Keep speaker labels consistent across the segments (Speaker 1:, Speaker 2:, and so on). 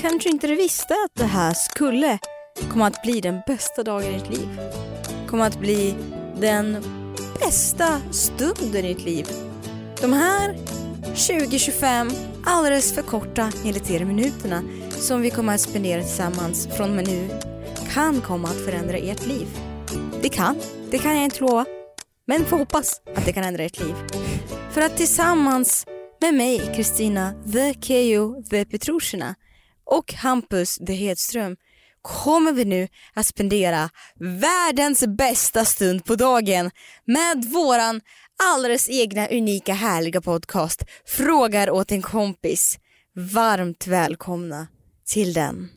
Speaker 1: kanske inte du visste att det här skulle komma att bli den bästa dagen i ditt liv. Komma att bli den bästa stunden i ditt liv. De här 20-25 alldeles för korta enligt er minuterna som vi kommer att spendera tillsammans från och med nu kan komma att förändra ert liv. Det kan, det kan jag inte lova. Men får hoppas att det kan ändra ert liv. För att tillsammans med mig, Kristina The Keyyo The Petrushina och Hampus The Hedström kommer vi nu att spendera världens bästa stund på dagen med våran alldeles egna unika härliga podcast Frågar åt en kompis. Varmt välkomna till den.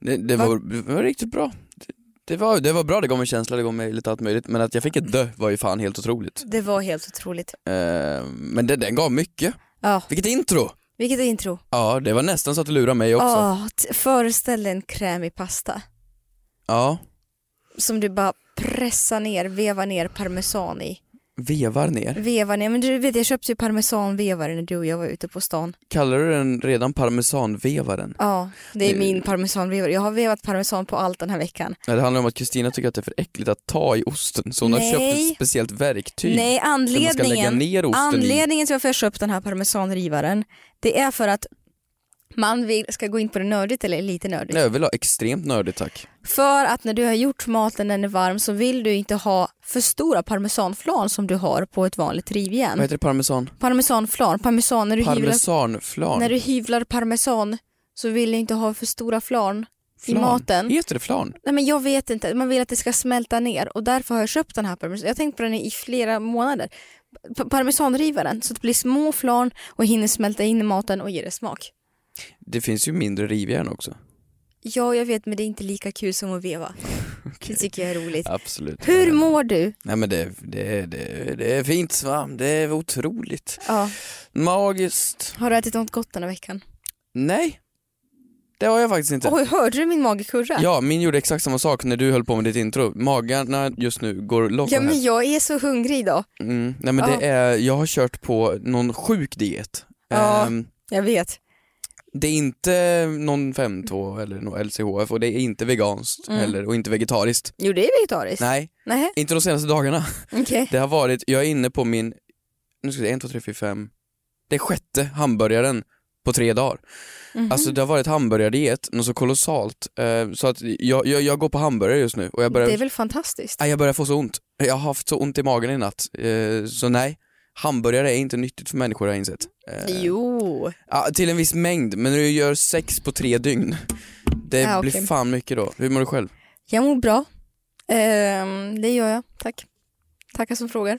Speaker 2: Det, det, var, det var riktigt bra. Det, det, var, det var bra, det gav mig känsla, det gav mig lite allt möjligt. Men att jag fick ett dö var ju fan helt otroligt.
Speaker 1: Det var helt otroligt.
Speaker 2: Eh, men det, den gav mycket.
Speaker 1: Ja,
Speaker 2: Vilket intro!
Speaker 1: vilket intro.
Speaker 2: Ja, det var nästan så att du lurade mig också.
Speaker 1: Ja, t- föreställ dig en krämig pasta
Speaker 2: Ja,
Speaker 1: som du bara pressar ner, vevar ner parmesan i.
Speaker 2: vevar ner.
Speaker 1: Vevar ner, men du vet jag köpte ju parmesanvevare när du och jag var ute på stan.
Speaker 2: Kallar du den redan parmesanvevaren?
Speaker 1: Ja, det är
Speaker 2: Det-
Speaker 1: min parmesanvevare. Jag har vevat parmesan på allt den här veckan.
Speaker 2: Nej, det handlar om att Kristina tycker att det är för äckligt att ta i osten, så hon har
Speaker 1: Nej.
Speaker 2: köpt ett speciellt verktyg.
Speaker 1: Nej,
Speaker 2: där Typ. man ska lägga
Speaker 1: anledningen,
Speaker 2: ner osten i.
Speaker 1: anledningen till varför jag köpt den här parmesanrivaren, det är för att man vill, ska gå in på det nördigt eller lite nördigt.
Speaker 2: Nej, jag vill ha extremt nördigt tack.
Speaker 1: För att när du har gjort maten när den är varm så vill du inte ha för stora parmesanflan som du har på ett vanligt rivjärn.
Speaker 2: Vad heter det, parmesan?
Speaker 1: Parmesanflan, parmesan, när du hyvlar
Speaker 2: Parmesanflarn.
Speaker 1: När du hyvlar parmesan så vill du inte ha för stora flarn i
Speaker 2: Flarn.
Speaker 1: maten.
Speaker 2: Heter det flarn?
Speaker 1: Nej men jag vet inte, man vill att det ska smälta ner och därför har jag köpt den här parmesan. Jag har tänkt på den i flera månader. Pa- Parmesanrivaren, så att det blir små flarn och hinner smälta in i maten och ge det smak.
Speaker 2: Det finns ju mindre rivjärn också.
Speaker 1: Ja jag vet men det är inte lika kul som att veva. Det tycker jag är roligt.
Speaker 2: Absolut.
Speaker 1: Hur mår du?
Speaker 2: Nej men det, det, det, det är fint va, det är otroligt.
Speaker 1: Ja.
Speaker 2: Magiskt.
Speaker 1: Har du ätit något gott den här veckan?
Speaker 2: Nej, det har jag faktiskt inte.
Speaker 1: Oj, hörde du min mage kurra?
Speaker 2: Ja, min gjorde exakt samma sak när du höll på med ditt intro. Magarna just nu går lock
Speaker 1: ja
Speaker 2: on
Speaker 1: men
Speaker 2: här.
Speaker 1: jag är så hungrig idag.
Speaker 2: mm. Nej men det är, jag har kört på någon sjuk diet.
Speaker 1: Ja.
Speaker 2: Ehm,
Speaker 1: Jag vet.
Speaker 2: det är inte någon 5-2 eller någon LCHF och det är inte veganskt
Speaker 1: Mm.
Speaker 2: heller och inte vegetariskt.
Speaker 1: Jo det är vegetariskt.
Speaker 2: Nej,
Speaker 1: Nej.
Speaker 2: inte de senaste dagarna.
Speaker 1: Okej.
Speaker 2: Det har varit, jag är inne på min, nu ska vi se, 1, 2, 3, 4, 5, det är sjätte hamburgaren på tre dagar.
Speaker 1: Mhm.
Speaker 2: Alltså det har varit hamburgardiet, något så kolossalt. Eh, så att jag, jag, jag går på hamburgare just nu och jag börjar,
Speaker 1: Det är väl fantastiskt?
Speaker 2: nej, jag börjar få så ont. Jag har haft så ont i magen i natt. Eh, så nej, hamburgare är inte nyttigt för människor har jag insett. Eh,
Speaker 1: Jo.
Speaker 2: ja, till en viss mängd, men när du gör sex på tre dygn, det
Speaker 1: Ah, okej.
Speaker 2: blir fan mycket då. Hur mår du själv?
Speaker 1: Jag mår bra. Ehm, det gör jag, tack. Tackar som frågar.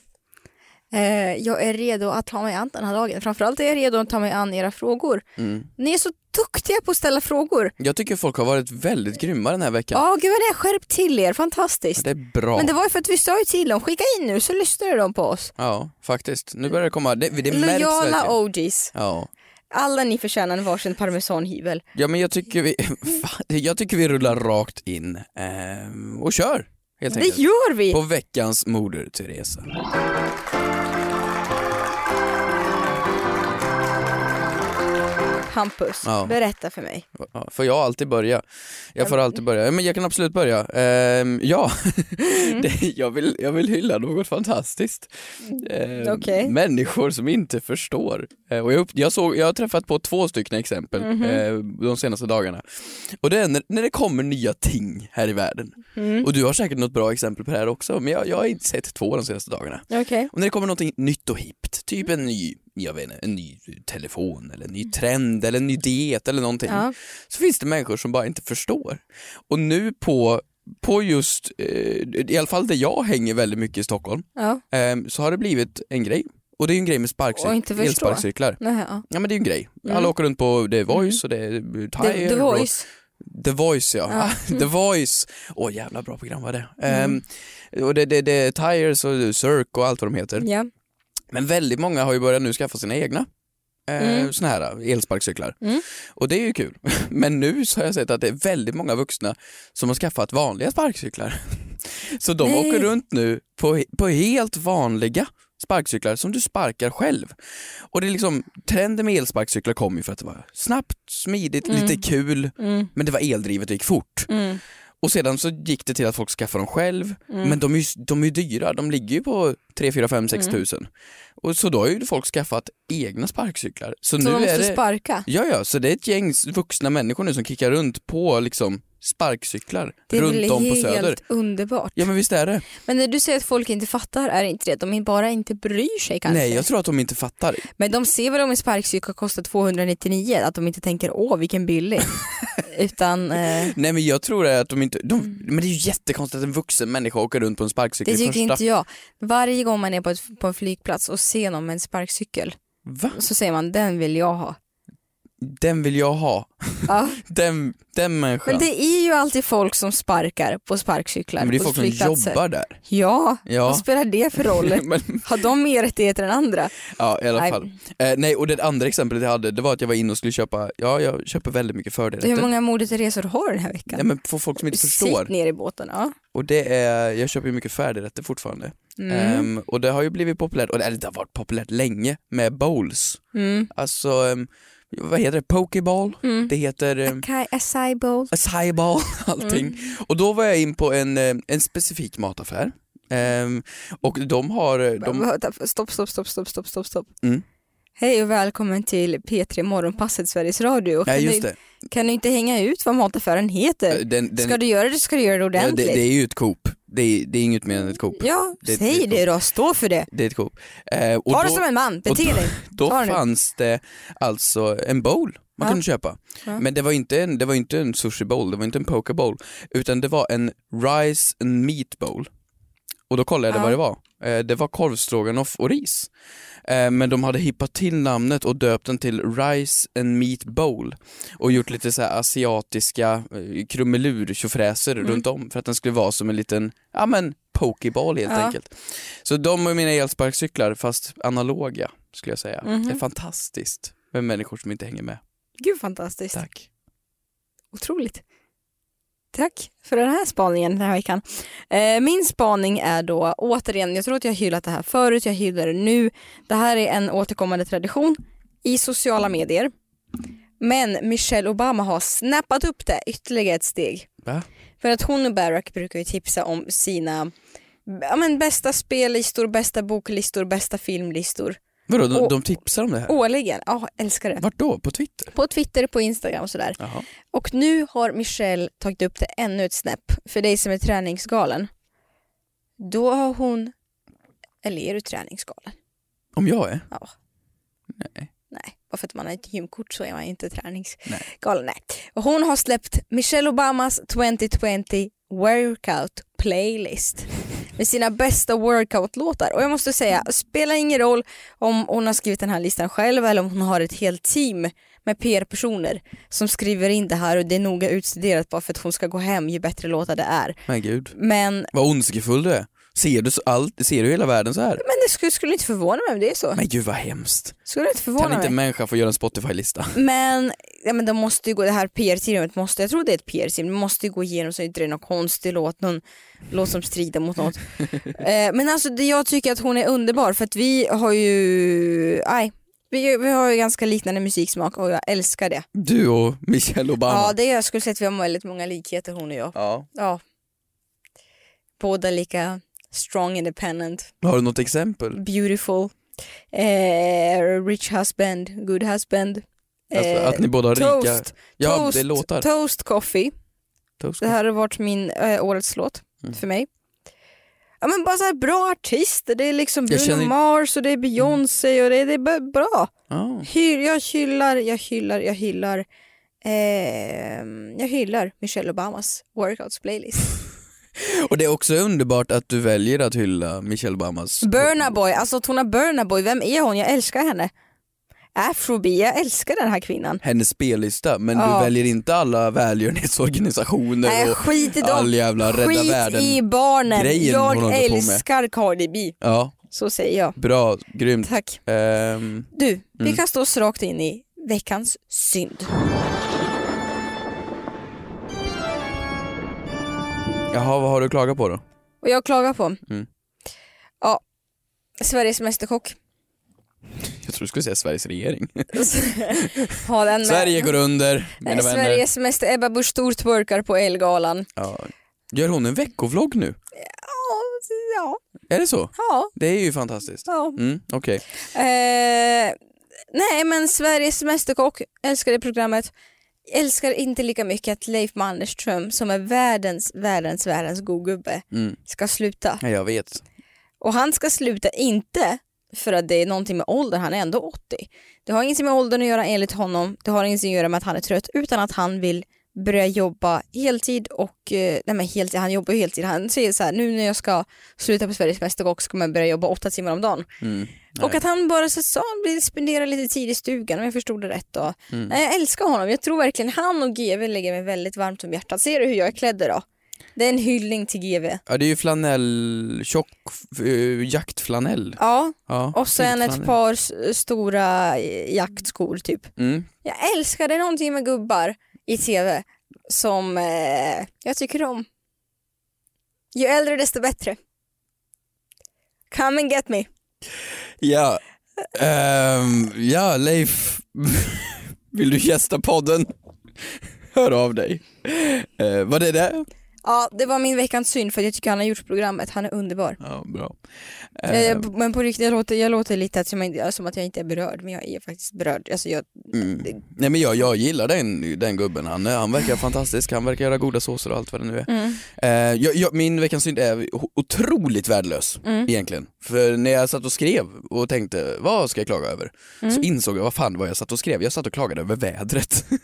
Speaker 1: Eh, jag är redo att ta mig an den här dagen. Framförallt är jag redo att ta mig an era frågor.
Speaker 2: Mm.
Speaker 1: Ni är så duktiga på att ställa frågor.
Speaker 2: Jag tycker folk har varit väldigt grymma den här veckan.
Speaker 1: Ja, gud vad ni har skärpt till er. Fantastiskt.
Speaker 2: Det är bra.
Speaker 1: Men det var ju för att vi sa ju till dem, skicka in nu så lyssnar de på oss.
Speaker 2: Ja, faktiskt. Nu börjar det komma, det, det märks
Speaker 1: Lojala
Speaker 2: verkligen.
Speaker 1: OGs.
Speaker 2: Ja.
Speaker 1: Alla ni förtjänar en varsin parmesanhyvel.
Speaker 2: ja, men jag tycker vi, fan, jag tycker vi rullar rakt in ehm, och kör helt
Speaker 1: Det
Speaker 2: enkelt.
Speaker 1: gör vi!
Speaker 2: På veckans moder Teresa.
Speaker 1: Hampus,
Speaker 2: Ja.
Speaker 1: berätta för mig.
Speaker 2: Ja, Får jag alltid börja? Jag får alltid börja. Ja, Men jag kan absolut börja. Ehm, ja, det, jag, vill, jag vill hylla något fantastiskt. Ehm,
Speaker 1: Okej.
Speaker 2: Människor som inte förstår. Eh, och jag, upp, jag, såg, jag har träffat på två stycken exempel eh, de senaste dagarna. Och det är när, när det kommer nya ting här i världen. Och du har säkert något bra exempel på det här också, men jag, jag har inte sett två de senaste dagarna.
Speaker 1: Okej.
Speaker 2: Och när det kommer något nytt och hippt, typ
Speaker 1: Mm.
Speaker 2: en ny, jag vet inte, en ny telefon eller en ny trend eller en ny diet eller någonting.
Speaker 1: Ja.
Speaker 2: Så finns det människor som bara inte förstår. Och nu på, på just, eh, i alla fall där jag hänger väldigt mycket i Stockholm,
Speaker 1: Ja.
Speaker 2: eh, så har det blivit en grej. Och det är ju en grej med
Speaker 1: Och inte
Speaker 2: sparkcyk-
Speaker 1: förstå. Mm.
Speaker 2: elsparkcyklar.
Speaker 1: Nähä, ja.
Speaker 2: Ja men det är eh, ju en grej. Alla åker runt på, det är Voice och det är Tire
Speaker 1: The, the
Speaker 2: och-
Speaker 1: Voice. Mm.
Speaker 2: The Voice ja. The Voice. Åh jävla bra program var det. Ehm, och det, det, det är Tires och Cirque och allt vad de heter.
Speaker 1: Ja.
Speaker 2: Men väldigt många har ju börjat nu skaffa sina egna eh, såna här elsparkcyklar. Och det är ju kul. Men nu så har jag sett att det är väldigt många vuxna som har skaffat vanliga sparkcyklar. Så de
Speaker 1: Nej.
Speaker 2: åker runt nu på, på helt vanliga sparkcyklar som du sparkar själv. Och det är liksom, trenden med elsparkcyklar kom ju för att det var snabbt, smidigt,
Speaker 1: Mm.
Speaker 2: lite kul, men det var eldrivet och gick fort. Och sedan så gick det till att folk skaffade dem själv,
Speaker 1: Mm.
Speaker 2: men de är, ju, de är ju dyra, de ligger ju på 3, 4, 5, 6
Speaker 1: Mm.
Speaker 2: tusen. Och så då har ju folk skaffat egna sparkcyklar. Så,
Speaker 1: Så
Speaker 2: nu
Speaker 1: de
Speaker 2: är
Speaker 1: måste
Speaker 2: det...
Speaker 1: sparka.
Speaker 2: Ja, ja, så det är ett gäng vuxna människor nu som kickar runt på liksom sparkcyklar
Speaker 1: Det är
Speaker 2: runt
Speaker 1: väl
Speaker 2: om på
Speaker 1: helt Alltså.
Speaker 2: Söder.
Speaker 1: underbart.
Speaker 2: Ja men visst är det?
Speaker 1: Men när du säger att folk inte fattar, är det inte det? De bara inte bryr sig kanske?
Speaker 2: Nej jag tror att de inte fattar.
Speaker 1: Men de ser väl om en sparkcykel kostar 299, att de inte tänker åh vilken billig. Utan eh,
Speaker 2: Nej men jag tror att de inte, de, men det är ju jättekonstigt att en vuxen människa åker runt på en sparkcykel
Speaker 1: Mm. det
Speaker 2: i
Speaker 1: tycker
Speaker 2: första.
Speaker 1: inte jag. Varje gång man är på, ett, på en flygplats och ser någon med en sparkcykel
Speaker 2: Va?
Speaker 1: så säger man den vill jag ha.
Speaker 2: Den vill jag ha.
Speaker 1: Ja.
Speaker 2: Den, den människan.
Speaker 1: Men det är ju alltid folk som sparkar på sparkcyklar
Speaker 2: Men det är
Speaker 1: på
Speaker 2: folk som
Speaker 1: flygplatser.
Speaker 2: jobbar där.
Speaker 1: Ja,
Speaker 2: Ja.
Speaker 1: vad spelar det för roll?
Speaker 2: men,
Speaker 1: Har de mer rättigheter än andra?
Speaker 2: ja i alla
Speaker 1: Nej.
Speaker 2: fall. Eh, nej och det andra exemplet jag hade det var att jag var inne och skulle köpa, ja jag köper väldigt mycket
Speaker 1: Hur
Speaker 2: fördelar.
Speaker 1: många mordet i resor har du den här veckan?
Speaker 2: Nej men för folk som inte förstår.
Speaker 1: Sitt ner i båten. Ja.
Speaker 2: Och det är, jag köper ju mycket färdigrätter fortfarande.
Speaker 1: Mm.
Speaker 2: Ehm, och det har ju blivit populärt, och det, eller det har varit populärt länge med bowls.
Speaker 1: Mm.
Speaker 2: Alltså, ehm, vad heter det? Pokeball, det heter um,
Speaker 1: Kai acai bowl.
Speaker 2: acai ball, allting.
Speaker 1: Mm.
Speaker 2: Och då var jag in på en, eh, en specifik mataffär. Ehm, och de har, eh, de,
Speaker 1: Vänta, Stopp, stopp, stopp, stopp, stopp, stopp, stopp.
Speaker 2: Mm.
Speaker 1: Hej och välkommen till P3 Morgonpasset Sveriges Radio.
Speaker 2: nej just
Speaker 1: kan,
Speaker 2: det, Eh, Äh,
Speaker 1: du, kan du inte hänga ut vad mataffären heter?
Speaker 2: den, den,
Speaker 1: ska du göra det ska du göra det
Speaker 2: ja, det,
Speaker 1: ordentligt.
Speaker 2: det är ju ett Coop, det är, det är inget mer än ett Coop.
Speaker 1: ja,
Speaker 2: det-
Speaker 1: säg det
Speaker 2: det-
Speaker 1: då, stå för det.
Speaker 2: Det är ett Coop. Ehm, och
Speaker 1: Ta
Speaker 2: då-
Speaker 1: det som en man,
Speaker 2: och
Speaker 1: bete
Speaker 2: då-
Speaker 1: dig.
Speaker 2: Då
Speaker 1: Ta det nu.
Speaker 2: fanns det alltså en bowl man
Speaker 1: Ja.
Speaker 2: kunde köpa.
Speaker 1: Ja.
Speaker 2: Men det var, inte en, det var inte en sushi bowl, det var inte en poke bowl, utan det var en rice and meat bowl. Och då kollade jag
Speaker 1: Ja.
Speaker 2: vad det var. Eh, Det var korvstroganoff och ris. Eh, Men de hade hippat till namnet och döpt den till Rice and Meat Bowl och gjort lite så här asiatiska eh, krumelur tjofräser
Speaker 1: Mm.
Speaker 2: runt om för att den skulle vara som en liten, ja men pokeball helt
Speaker 1: Ja.
Speaker 2: enkelt. Så de är mina elsparkcyklar fast analoga skulle jag säga.
Speaker 1: Mhm.
Speaker 2: Det är fantastiskt med människor som inte hänger med.
Speaker 1: Gud fantastiskt,
Speaker 2: Tack.
Speaker 1: otroligt. Tack för den här spaningen den här veckan. Eh, min spaning är då återigen, jag tror att jag har hyllat det här förut, jag hyllar det nu. Det här är en återkommande tradition i sociala medier. Men Michelle Obama har snappat upp det ytterligare ett steg.
Speaker 2: Va?
Speaker 1: För att hon och Barack brukar ju tipsa om sina ja, men bästa spellistor, bästa boklistor, bästa filmlistor.
Speaker 2: Vadå, de,
Speaker 1: Och-
Speaker 2: de tipsar om det här?
Speaker 1: Årligen, ja älskar det.
Speaker 2: Vart då? På Twitter?
Speaker 1: På Twitter, på Instagram och sådär.
Speaker 2: Jaha.
Speaker 1: Och nu har Michelle tagit upp det ännu ett snäpp för dig som är träningsgalen. Då har hon, eller är du träningsgalen?
Speaker 2: Om jag är?
Speaker 1: Ja.
Speaker 2: Nej.
Speaker 1: Nej, bara för att man har ett gymkort så är man ju inte
Speaker 2: Nej.
Speaker 1: träningsgalen. Nej. Och hon har släppt Michelle Obamas 2020 workout playlist med sina bästa workout-låtar. Och jag måste säga, spelar ingen roll om hon har skrivit den här listan själv eller om hon har ett helt team med PR-personer som skriver in det här och det är noga utstuderat bara för att hon ska gå hem ju bättre låtar det är.
Speaker 2: Men gud.
Speaker 1: Men,
Speaker 2: Vad ondskefull du är. Ser du, så allt, ser du hela världen så här?
Speaker 1: men det skulle, skulle inte förvåna mig om det är så.
Speaker 2: Men gud vad hemskt.
Speaker 1: Skulle inte förvåna
Speaker 2: Kan inte
Speaker 1: mig.
Speaker 2: en människa få göra en Spotify-lista?
Speaker 1: Men, ja, men de måste ju gå, det här PR-teamet måste, jag tror det är ett PR-team, de måste ju gå igenom så inte det är någon konstig låt, någon låt som strider mot något. eh, men alltså det, jag tycker att hon är underbar för att vi har ju, nej, vi, vi har ju ganska liknande musiksmak och jag älskar det.
Speaker 2: Du och Michelle Obama.
Speaker 1: Ja, det jag skulle säga att vi har väldigt många likheter hon och jag.
Speaker 2: Ja.
Speaker 1: Ja. Båda lika strong independent,
Speaker 2: Har du något exempel?
Speaker 1: beautiful, eh, rich husband, good husband.
Speaker 2: Alltså,
Speaker 1: eh,
Speaker 2: att ni båda har rika...
Speaker 1: Toast,
Speaker 2: Ja,
Speaker 1: toast,
Speaker 2: det är låtar.
Speaker 1: toast coffee.
Speaker 2: Toast.
Speaker 1: Det här har varit min eh, årets låt
Speaker 2: Mm.
Speaker 1: för mig. Ja men bara så här bra artister, det är liksom Bruno
Speaker 2: känner- Mm.
Speaker 1: Mars och det är Beyoncé och det, det är bara bra.
Speaker 2: Ja.
Speaker 1: Hy- jag hyllar, jag hyllar, jag hyllar. ehm, jag hyllar Michelle Obamas workouts playlist.
Speaker 2: Och det är också underbart att du väljer att hylla Michelle Obamas...
Speaker 1: Burna Boy, alltså att hon har Burna Boy, vem är hon? Jag älskar henne. afrobi. Jag älskar den här kvinnan.
Speaker 2: hennes spellista men
Speaker 1: Ja.
Speaker 2: du väljer inte alla välgörenhetsorganisationer
Speaker 1: Nej,
Speaker 2: och
Speaker 1: skit i dem.
Speaker 2: all jävla rädda
Speaker 1: skit
Speaker 2: världen.
Speaker 1: i barnen.
Speaker 2: grejen hon
Speaker 1: Jag
Speaker 2: håller på med.
Speaker 1: älskar Cardi B.
Speaker 2: Ja,
Speaker 1: Så säger jag.
Speaker 2: bra, grymt.
Speaker 1: Tack.
Speaker 2: Ehm,
Speaker 1: Du, vi kastar oss rakt in i veckans synd.
Speaker 2: jaha, vad har du att klaga på då?
Speaker 1: Och jag klagar på.
Speaker 2: Mm.
Speaker 1: Ja, Sveriges mästerkock.
Speaker 2: Jag tror du skulle säga Sveriges regering.
Speaker 1: Ha den med.
Speaker 2: Sverige går under, mina
Speaker 1: Nej,
Speaker 2: vänner.
Speaker 1: Sveriges mäster Ebba Busch Thor twerkar på Elgalan.
Speaker 2: Ja. Gör hon en veckovlogg nu?
Speaker 1: Ja,
Speaker 2: Är det så?
Speaker 1: ja,
Speaker 2: Det är ju fantastiskt.
Speaker 1: ja.
Speaker 2: Mm, Okej,
Speaker 1: Eh, nej men Sveriges Mästerkock, älskar det programmet. Älskar inte lika mycket att Leif Mannerström som är världens, världens, världens god gubbe
Speaker 2: Mm.
Speaker 1: ska sluta.
Speaker 2: ja, jag vet.
Speaker 1: Och han ska sluta inte för att det är någonting med ålder, han är ändå 80. Det har ingenting med åldern att göra enligt honom, det har ingenting att göra med att han är trött utan att han vill börja jobba heltid och, eh, nej men heltid, han jobbar ju heltid. Han säger så här, nu när jag ska sluta på Sveriges Mästerkock så kommer jag börja jobba åtta timmar om dagen.
Speaker 2: Mm.
Speaker 1: Och att han bara så sa han vill spendera lite tid i stugan om jag förstod det rätt. Då. Nej, Jag älskar honom, jag tror verkligen han och GV ligger mig väldigt varmt om hjärtat. Ser du hur jag är klädd idag? Det är en hyllning till GV.
Speaker 2: Ja, det är ju flanell, tjock, eh, jaktflanell.
Speaker 1: Ja,
Speaker 2: Ja,
Speaker 1: och sen ett
Speaker 2: flanell.
Speaker 1: par s- stora eh, jaktskor typ.
Speaker 2: Mm.
Speaker 1: Jag älskar det är någonting med gubbar i tv som eh, jag tycker om. Ju äldre desto bättre. Come and get me.
Speaker 2: Ja, Ehm, ja Leif, vill du gästa podden? Hör av dig. Uh, var det det?
Speaker 1: Ja, det var min veckans synd för jag tycker han har gjort programmet, han är underbar.
Speaker 2: Ja, bra.
Speaker 1: Eh,
Speaker 2: Ehm,
Speaker 1: jag- men på riktigt, jag låter, jag låter lite att, som, jag- som att jag inte är berörd, men jag är faktiskt berörd. Alltså jag,
Speaker 2: mm. Nej men jag, jag gillar den, den gubben, han, är- han verkar fantastisk, han verkar göra goda såser och allt vad det nu är.
Speaker 1: Mm.
Speaker 2: Ehm, jag, jag, min veckans synd är o- otroligt värdelös
Speaker 1: Mm.
Speaker 2: egentligen. För när jag satt och skrev och tänkte, vad ska jag klaga över? Så
Speaker 1: Mm.
Speaker 2: insåg jag, vad fan var jag satt och skrev? Jag satt och klagade över vädret.
Speaker 1: Nej,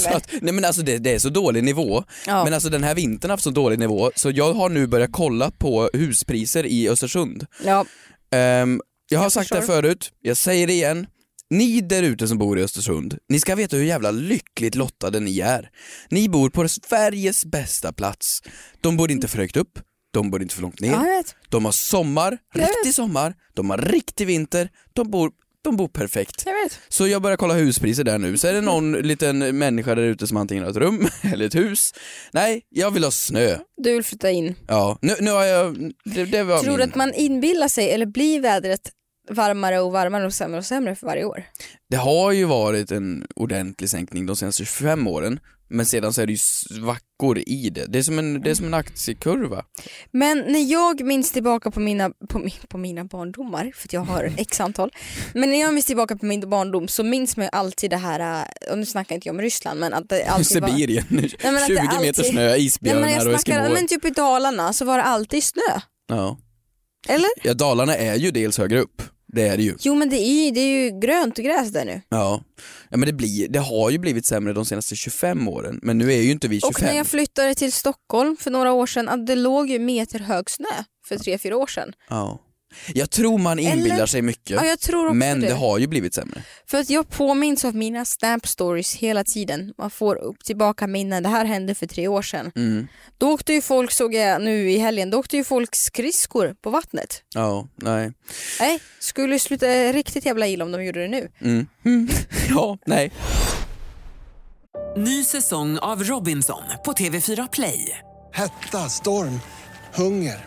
Speaker 2: så
Speaker 1: men-
Speaker 2: att, nej men alltså det, det är så dålig nivå.
Speaker 1: Ja.
Speaker 2: Men alltså den här vintern har haft så dålig nivå så jag har nu börjat kolla på huspriser i Östersund.
Speaker 1: ja,
Speaker 2: Ehm, jag har sagt det
Speaker 1: förstår.
Speaker 2: förut, jag säger det igen. Ni där ute som bor i Östersund, ni ska veta hur jävla lyckligt lottade ni är. Ni bor på Sveriges bästa plats. De bor inte för högt upp, de bor inte för långt ner.
Speaker 1: ja, jag vet.
Speaker 2: De har sommar,
Speaker 1: Jag vet.
Speaker 2: riktig sommar, de har riktig vinter, de bor, de bor perfekt.
Speaker 1: Jag vet.
Speaker 2: Så jag börjar kolla huspriser där nu, så är det någon
Speaker 1: Mm.
Speaker 2: liten människa där ute som antingen har ett rum eller ett hus. Nej, jag vill ha snö.
Speaker 1: Du vill flytta in.
Speaker 2: Ja, nu, nu har jag... Det, det var
Speaker 1: Tror du
Speaker 2: min.
Speaker 1: att man inbillar sig eller blir vädret varmare och varmare och sämre och sämre för varje år?
Speaker 2: Det har ju varit en ordentlig sänkning de senaste 25 åren, men sedan så är det ju svackor i det. Det är som en, det är som en aktiekurva.
Speaker 1: Men när jag minns tillbaka på mina, på, min, på mina barndomar, för att jag har x antal, men när jag minns tillbaka på min barndom så minns man ju alltid det här, äh, och nu snackar inte jag om Ryssland, men att det alltid var...
Speaker 2: Sibirien,
Speaker 1: men att det
Speaker 2: 20 meter
Speaker 1: alltid-
Speaker 2: snö,
Speaker 1: Nej,
Speaker 2: isbjörnar
Speaker 1: men
Speaker 2: och
Speaker 1: jag snackar,
Speaker 2: eskimåer.
Speaker 1: men typ i Dalarna så var det alltid snö.
Speaker 2: Ja.
Speaker 1: Eller?
Speaker 2: ja, Dalarna är ju dels högre upp. Det är det ju.
Speaker 1: Jo men det är, ju- det är ju grönt och gräs där nu.
Speaker 2: Ja, ja men det, blir, det har ju blivit sämre de senaste 25 åren, men nu är ju inte vi 25.
Speaker 1: Och när jag flyttade till Stockholm för några år sedan, att det låg ju meterhög snö för tre, fyra år sedan.
Speaker 2: ja. jag tror man inbillar
Speaker 1: Eller-
Speaker 2: sig mycket,
Speaker 1: Ja, jag tror också
Speaker 2: men
Speaker 1: det.
Speaker 2: det. har ju blivit sämre.
Speaker 1: För att jag påminns av mina snap stories hela tiden. Man får upp tillbaka minnen. Det här hände för tre år sedan.
Speaker 2: Mm.
Speaker 1: Då åkte ju folk, såg jag nu i helgen, då åkte ju folk skridskor på vattnet.
Speaker 2: Ja, nej.
Speaker 1: Nej, skulle sluta eh, riktigt jävla illa om de gjorde det nu.
Speaker 2: Mm. Mm. ja, nej.
Speaker 3: Ny säsong av Robinson på TV4 Play.
Speaker 4: Hetta, storm, hunger.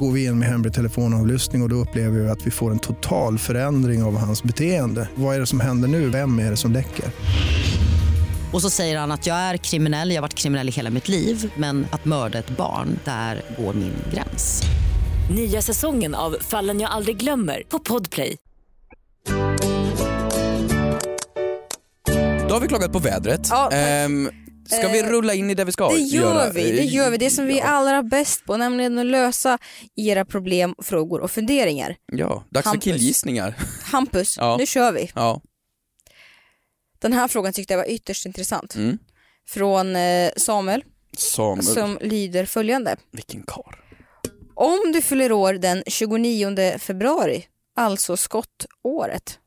Speaker 5: går vi in med hemlig telefonavlyssning och, och då upplever vi att vi får en total förändring av hans beteende. Vad är det som händer nu? Vem är det som läcker?
Speaker 6: Och så säger han att jag är kriminell, jag har varit kriminell i hela mitt liv men att mörda ett barn, där går min gräns.
Speaker 7: Nya säsongen av Fallen jag aldrig glömmer på Podplay.
Speaker 2: Då har vi klagat på vädret.
Speaker 1: Ja, tack.
Speaker 2: Ehm, Ska vi
Speaker 1: Eh,
Speaker 2: rulla in i det vi ska?
Speaker 1: Det
Speaker 2: göra?
Speaker 1: gör vi, det gör vi. Det som vi är
Speaker 2: Ja.
Speaker 1: allra bäst på, nämligen att lösa era problem, frågor och funderingar.
Speaker 2: Ja, dags
Speaker 1: Hampus.
Speaker 2: för killgissningar.
Speaker 1: Hampus,
Speaker 2: Ja.
Speaker 1: nu kör vi.
Speaker 2: Ja.
Speaker 1: Den här frågan tyckte jag var ytterst intressant.
Speaker 2: Mm.
Speaker 1: Från eh, Samuel,
Speaker 2: Samuel,
Speaker 1: som lyder följande.
Speaker 2: vilken kar.
Speaker 1: Om du fyller år den 29 februari, alltså skottåret,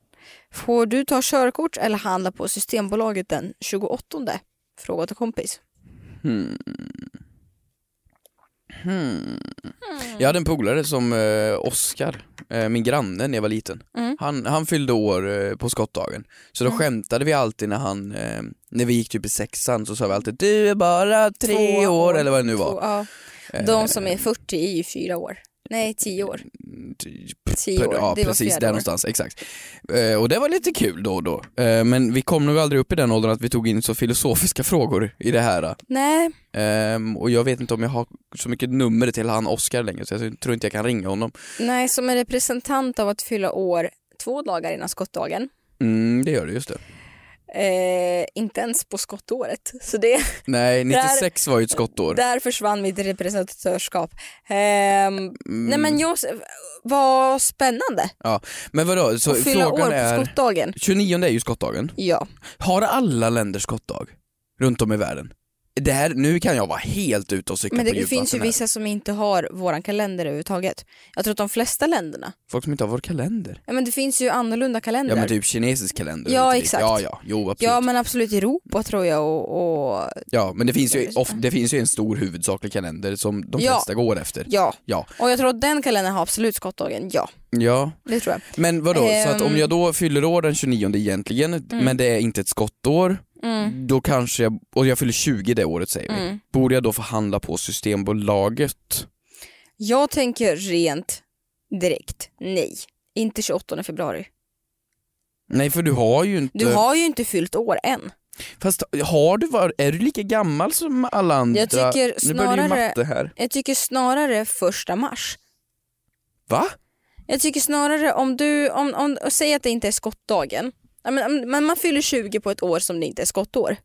Speaker 1: får du ta körkort eller handla på Systembolaget den 28? Fråga till kompis.
Speaker 2: Hmm. Hmm.
Speaker 1: Hmm.
Speaker 2: Jag hade en polare som eh, Oskar, eh, min granne när jag var liten.
Speaker 1: Mm.
Speaker 2: Han, han fyllde år eh, på skottdagen. Så då skämtade vi alltid när han, eh, när vi gick typ i sexan så sa vi alltid du är bara tre
Speaker 1: Två
Speaker 2: år, eller vad det nu
Speaker 1: Två,
Speaker 2: var.
Speaker 1: ja. De som är 40 är ju fyra år. Nej, tio år.
Speaker 2: Typ
Speaker 1: Tio år.
Speaker 2: Ja
Speaker 1: det var
Speaker 2: precis,
Speaker 1: fjärde
Speaker 2: där
Speaker 1: år.
Speaker 2: någonstans, exakt. Eh, och det var lite kul då och då. Eh, men vi kom nog aldrig upp i den åldern att vi tog in så filosofiska frågor i det här.
Speaker 1: Nej,
Speaker 2: Ehm, och jag vet inte om jag har så mycket nummer till han Oscar längre så jag tror inte jag kan ringa honom.
Speaker 1: nej, som en representant av att fylla år två dagar innan skottdagen.
Speaker 2: Mm, det gör du, just det.
Speaker 1: Eh, inte ens på skottåret. Så det,
Speaker 2: Nej,
Speaker 1: Där-
Speaker 2: 96 var ju ett skottår.
Speaker 1: där försvann mitt representatörskap. Ehm, Nej men jag, vad spännande
Speaker 2: Ja. Men vadå, så
Speaker 1: att fylla år
Speaker 2: frågan
Speaker 1: på
Speaker 2: är...
Speaker 1: skottdagen.
Speaker 2: 29 är ju skottdagen.
Speaker 1: Ja,
Speaker 2: Har alla länder skottdag? Runt om i världen? Det här, nu kan jag vara helt ute och cykla
Speaker 1: men det,
Speaker 2: på
Speaker 1: det finns ju
Speaker 2: djupvatten här.
Speaker 1: vissa som inte har våran kalender överhuvudtaget. Jag tror att de flesta länderna,
Speaker 2: Folk som inte har vår kalender.
Speaker 1: ja, men det finns ju annorlunda kalendrar.
Speaker 2: Ja men typ kinesisk kalender.
Speaker 1: Ja,
Speaker 2: Inte riktigt.
Speaker 1: exakt.
Speaker 2: Ja, ja, jo absolut.
Speaker 1: Ja
Speaker 2: Ja, men,
Speaker 1: men absolut Europa tror jag och, och
Speaker 2: det, finns ju, of, det finns ju en stor huvudsaklig kalender som de
Speaker 1: Ja.
Speaker 2: flesta går efter.
Speaker 1: ja.
Speaker 2: Ja.
Speaker 1: Och jag tror att den kalendern har absolut skottdagen, ja.
Speaker 2: Ja,
Speaker 1: Det tror jag.
Speaker 2: Men vadå, så att om
Speaker 1: Ehm.
Speaker 2: jag då fyller år den 29 egentligen, men det är inte ett skottår,
Speaker 1: Mm.
Speaker 2: då kanske jag, och jag fyller 20 det året säger vi,
Speaker 1: Mm.
Speaker 2: borde jag då få handla på Systembolaget?
Speaker 1: Jag tänker rent direkt, nej. Inte 28 februari.
Speaker 2: Nej för du har ju inte,
Speaker 1: Du har ju inte fyllt år än.
Speaker 2: fast har du, var, är du lika gammal som alla andra?
Speaker 1: Jag tycker
Speaker 2: Nu börjar det ju
Speaker 1: snarare-
Speaker 2: matte här.
Speaker 1: Jag tycker snarare första mars.
Speaker 2: Va?
Speaker 1: Jag tycker snarare om du, om, om, och säg att det inte är skottdagen. Ja, Men, om- men man fyller 20 på ett år som det inte är skottår.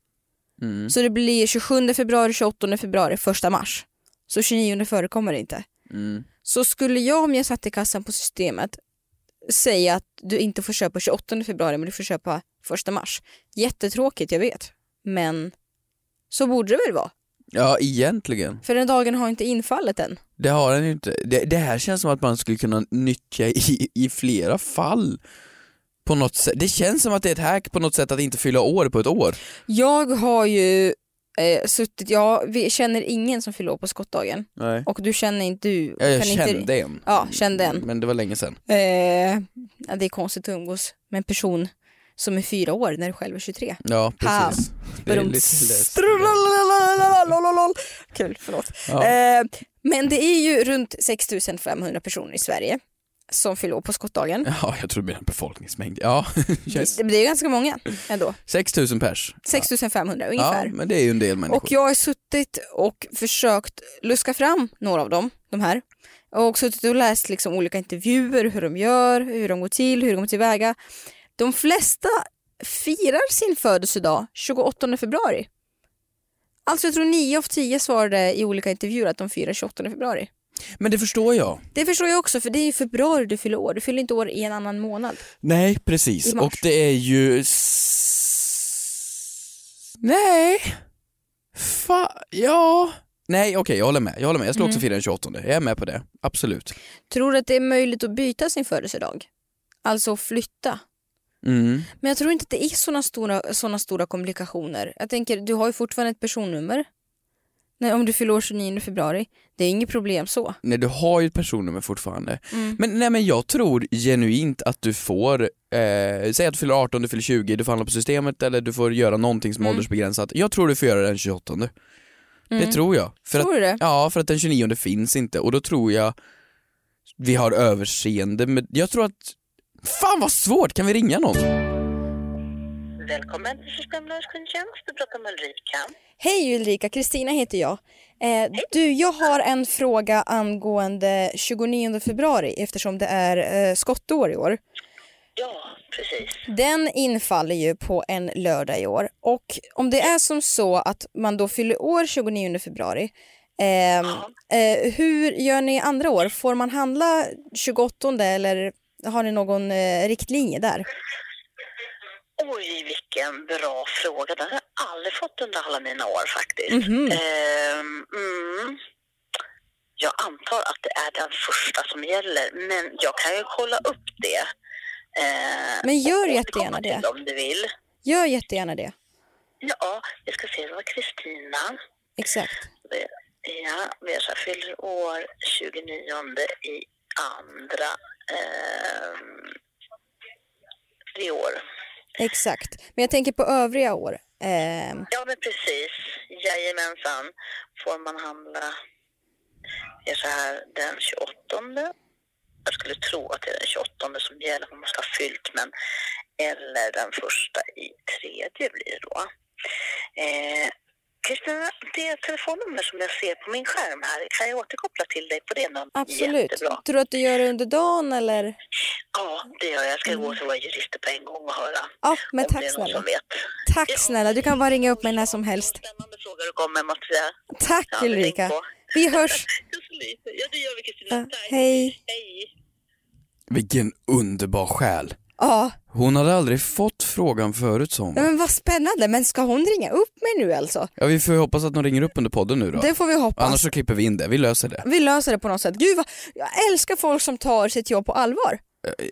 Speaker 2: Mm.
Speaker 1: Så det blir 27 februari, 28 februari, 1 mars. Så 29 förekommer det inte.
Speaker 2: Mm.
Speaker 1: Så skulle jag om jag satt i kassan på systemet säga att du inte får köpa 28 februari men du får köpa 1 mars. Jättetråkigt, jag vet. Men så borde det väl vara.
Speaker 2: Ja egentligen,
Speaker 1: För den dagen har inte infallit än.
Speaker 2: det har den ju inte. Det, det här känns som att man skulle kunna nyttja i, i flera fall. På något sätt. Det känns som att det är ett hack på något sätt att inte fylla år på ett år.
Speaker 1: Jag har ju eh, suttit, jag vi- känner ingen som fyller år på skottdagen.
Speaker 2: Nej.
Speaker 1: Och du känner inte, du
Speaker 2: Ja, jag
Speaker 1: inte-
Speaker 2: kände en.
Speaker 1: Ja, kände en.
Speaker 2: Men det var länge sedan.
Speaker 1: Eh, ja, det är konstigt att umgås med en person som är fyra år när du själv är 23.
Speaker 2: Ja,
Speaker 1: Ha.
Speaker 2: precis. Det är
Speaker 1: Badum.
Speaker 2: lite läskigt.
Speaker 1: Strulalalalalalalalalalal. Kul, förlåt.
Speaker 2: Ja.
Speaker 1: Eh, men det är ju runt 6500 personer i Sverige som fyller år på skottdagen.
Speaker 2: Ja, jag tror det blir en befolkningsmängd. Ja, yes.
Speaker 1: Det, det är ganska många ändå.
Speaker 2: 6000 pers.
Speaker 1: 6500 ungefär.
Speaker 2: Ja, men det är ju en del människor.
Speaker 1: Och jag har suttit och försökt luska fram några av dem, de här. Och suttit och läst liksom olika intervjuer, hur de gör, hur de går till, hur de går tillväga. De flesta firar sin födelsedag 28 februari. Alltså jag tror 9 av 10 svarade i olika intervjuer att de firar 28 februari.
Speaker 2: Men det förstår jag.
Speaker 1: Det förstår jag också för det är ju februari du fyller år, du fyller inte år i en annan månad.
Speaker 2: Nej,
Speaker 1: I
Speaker 2: precis.
Speaker 1: mars.
Speaker 2: Och det är ju... s- Nej. Fa... Ja. Nej, okej, jag håller med. Jag håller med. Jag skulle
Speaker 1: Mm.
Speaker 2: också fira den 28. Jag är med på det. Absolut.
Speaker 1: Tror du att det är möjligt att byta sin födelsedag? Alltså flytta?
Speaker 2: Mm.
Speaker 1: Men jag tror inte att det är såna stora, såna stora komplikationer. Jag tänker, du har ju fortfarande ett personnummer. Nej, om du fyller år 29 februari. Det är inget problem så.
Speaker 2: Nej, du har ju ett personnummer fortfarande.
Speaker 1: Mm.
Speaker 2: Men, nej, men jag tror genuint att du får, eh, säg att du fyller 18, du fyller 20, du får handla på systemet eller du får göra någonting som är
Speaker 1: Mm.
Speaker 2: åldersbegränsat. Jag tror du får göra den 28. Det tror jag. För
Speaker 1: Tror
Speaker 2: att,
Speaker 1: du det?
Speaker 2: ja, för att den 29 finns inte och då tror jag vi har överseende med, jag tror att, fan vad svårt, kan vi ringa någon?
Speaker 8: Välkommen till Systembolagets kundtjänst. Du pratar med Ulrika.
Speaker 1: Hej Ulrika, Kristina heter jag. Eh, du, jag har en fråga angående 29 februari eftersom det är eh, skottår i år.
Speaker 8: Ja, precis.
Speaker 1: Den infaller ju på en lördag i år. Och om det är som så att man då fyller år 29 februari, ehm, eh, hur gör ni andra år? Får man handla 28 eller har ni någon eh, riktlinje där?
Speaker 8: Oj, vilken bra fråga. Den har jag aldrig fått under alla mina år faktiskt. Ehm, mm. Jag antar att det är den första som gäller, men jag kan ju kolla upp det. Ehm,
Speaker 1: Men gör
Speaker 8: och
Speaker 1: jättegärna
Speaker 8: återkomma
Speaker 1: det.
Speaker 8: till Om du vill.
Speaker 1: Gör jättegärna det.
Speaker 8: Ja, jag ska se, det var Kristina.
Speaker 1: Exakt.
Speaker 8: Ja, Versa fyller år 29 i andra ehm, i år.
Speaker 1: Exakt. Men jag tänker på övriga år. Ehm,
Speaker 8: Ja, men precis. Jajamensan. Får man handla är så här den 28. Jag skulle tro att det är den 28 som gäller om man ska ha fyllt, men eller den första i tredje blir det då. Eh, Kristina, det telefonnummer som jag ser på min skärm här, kan jag återkoppla till dig på det numret?
Speaker 1: absolut.
Speaker 8: Jättebra.
Speaker 1: Tror du att du gör det under dagen eller?
Speaker 8: Ja, det gör jag. Jag ska gå till våra jurister på en gång och höra
Speaker 1: Mm. Ja, men
Speaker 8: om det
Speaker 1: tack
Speaker 8: är någon
Speaker 1: snälla.
Speaker 8: som vet. Ja.
Speaker 1: Tack snälla. Du kan bara ringa upp mig när som helst.
Speaker 8: Spännande fråga du kommer, måste jag säga.
Speaker 1: Tack
Speaker 8: Ja, men tänk
Speaker 1: Ulrika.
Speaker 8: på.
Speaker 1: Vi hörs.
Speaker 8: Jag så lite. Ja, det gör vi Kristina.
Speaker 1: Ja,
Speaker 8: Tack.
Speaker 1: hej.
Speaker 8: Hej.
Speaker 2: Vilken underbar själ.
Speaker 1: Ja,
Speaker 2: Hon hade aldrig fått frågan förut som.
Speaker 1: men vad spännande. Men ska hon ringa upp mig nu alltså?
Speaker 2: Ja vi får ju hoppas att de ringer upp under podden nu då.
Speaker 1: Det får vi hoppas.
Speaker 2: Annars så klipper vi in det, vi löser det.
Speaker 1: Vi löser det på något sätt. Gud vad, jag älskar folk som tar sitt jobb på allvar.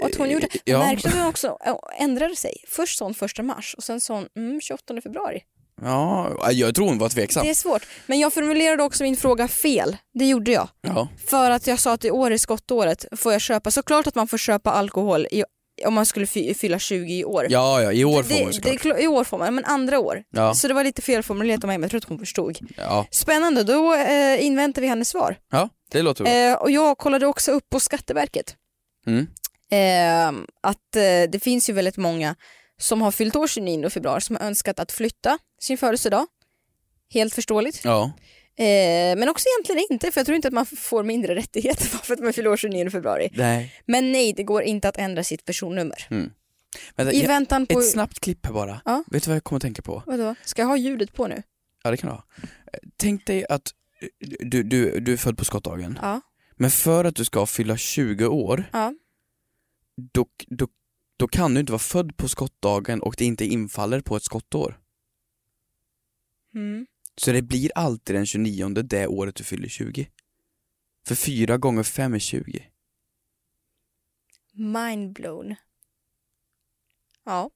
Speaker 1: Och att hon gjorde,
Speaker 2: Eh, ja.
Speaker 1: märkte att hon också äh, ändrade sig. Först sa hon första mars och sen sa hon mm, 28 februari.
Speaker 2: Ja, jag tror hon var tveksam.
Speaker 1: Det är svårt. Men jag formulerade också min fråga fel. Det gjorde jag.
Speaker 2: Ja.
Speaker 1: För att jag sa att i år är skottåret. Får jag köpa? Såklart att man får köpa alkohol i, om man skulle fy, fylla 20 i år.
Speaker 2: ja, ja, i år får
Speaker 1: det, det,
Speaker 2: hon
Speaker 1: är
Speaker 2: såklart.
Speaker 1: klo- I år får man, men andra år.
Speaker 2: Ja.
Speaker 1: Så det var lite felformulerat av mig, men jag tror att hon förstod.
Speaker 2: Ja.
Speaker 1: Spännande, då eh, inväntar vi hennes svar.
Speaker 2: ja, det låter bra.
Speaker 1: Eh, och jag kollade också upp på Skatteverket
Speaker 2: Mm.
Speaker 1: eh, att eh, det finns ju väldigt många som har fyllt år 29 februari som har önskat att flytta sin födelsedag. Helt förståeligt.
Speaker 2: Ja.
Speaker 1: Eh, men också egentligen inte, för jag tror inte att man f- får mindre rättigheter bara för att man fyller år 29 februari.
Speaker 2: Nej.
Speaker 1: Men nej, det går inte att ändra sitt personnummer.
Speaker 2: Vänta,
Speaker 1: I
Speaker 2: jag,
Speaker 1: väntan på...
Speaker 2: ett snabbt klipp här bara.
Speaker 1: Ja.
Speaker 2: Vet du vad jag kommer att tänka på?
Speaker 1: Vadå? Ska jag ha ljudet på nu?
Speaker 2: Ja det kan du ha. Tänk dig att eh, du, du, du är född på skottdagen,
Speaker 1: Ja.
Speaker 2: men för att du ska fylla 20 år,
Speaker 1: Ja.
Speaker 2: då, då, då kan du inte vara född på skottdagen och det inte infaller på ett skottår.
Speaker 1: Mm.
Speaker 2: Så det blir alltid den 29 det året du fyller 20. För fyra gånger fem är 20.
Speaker 1: Mindblown. Ja.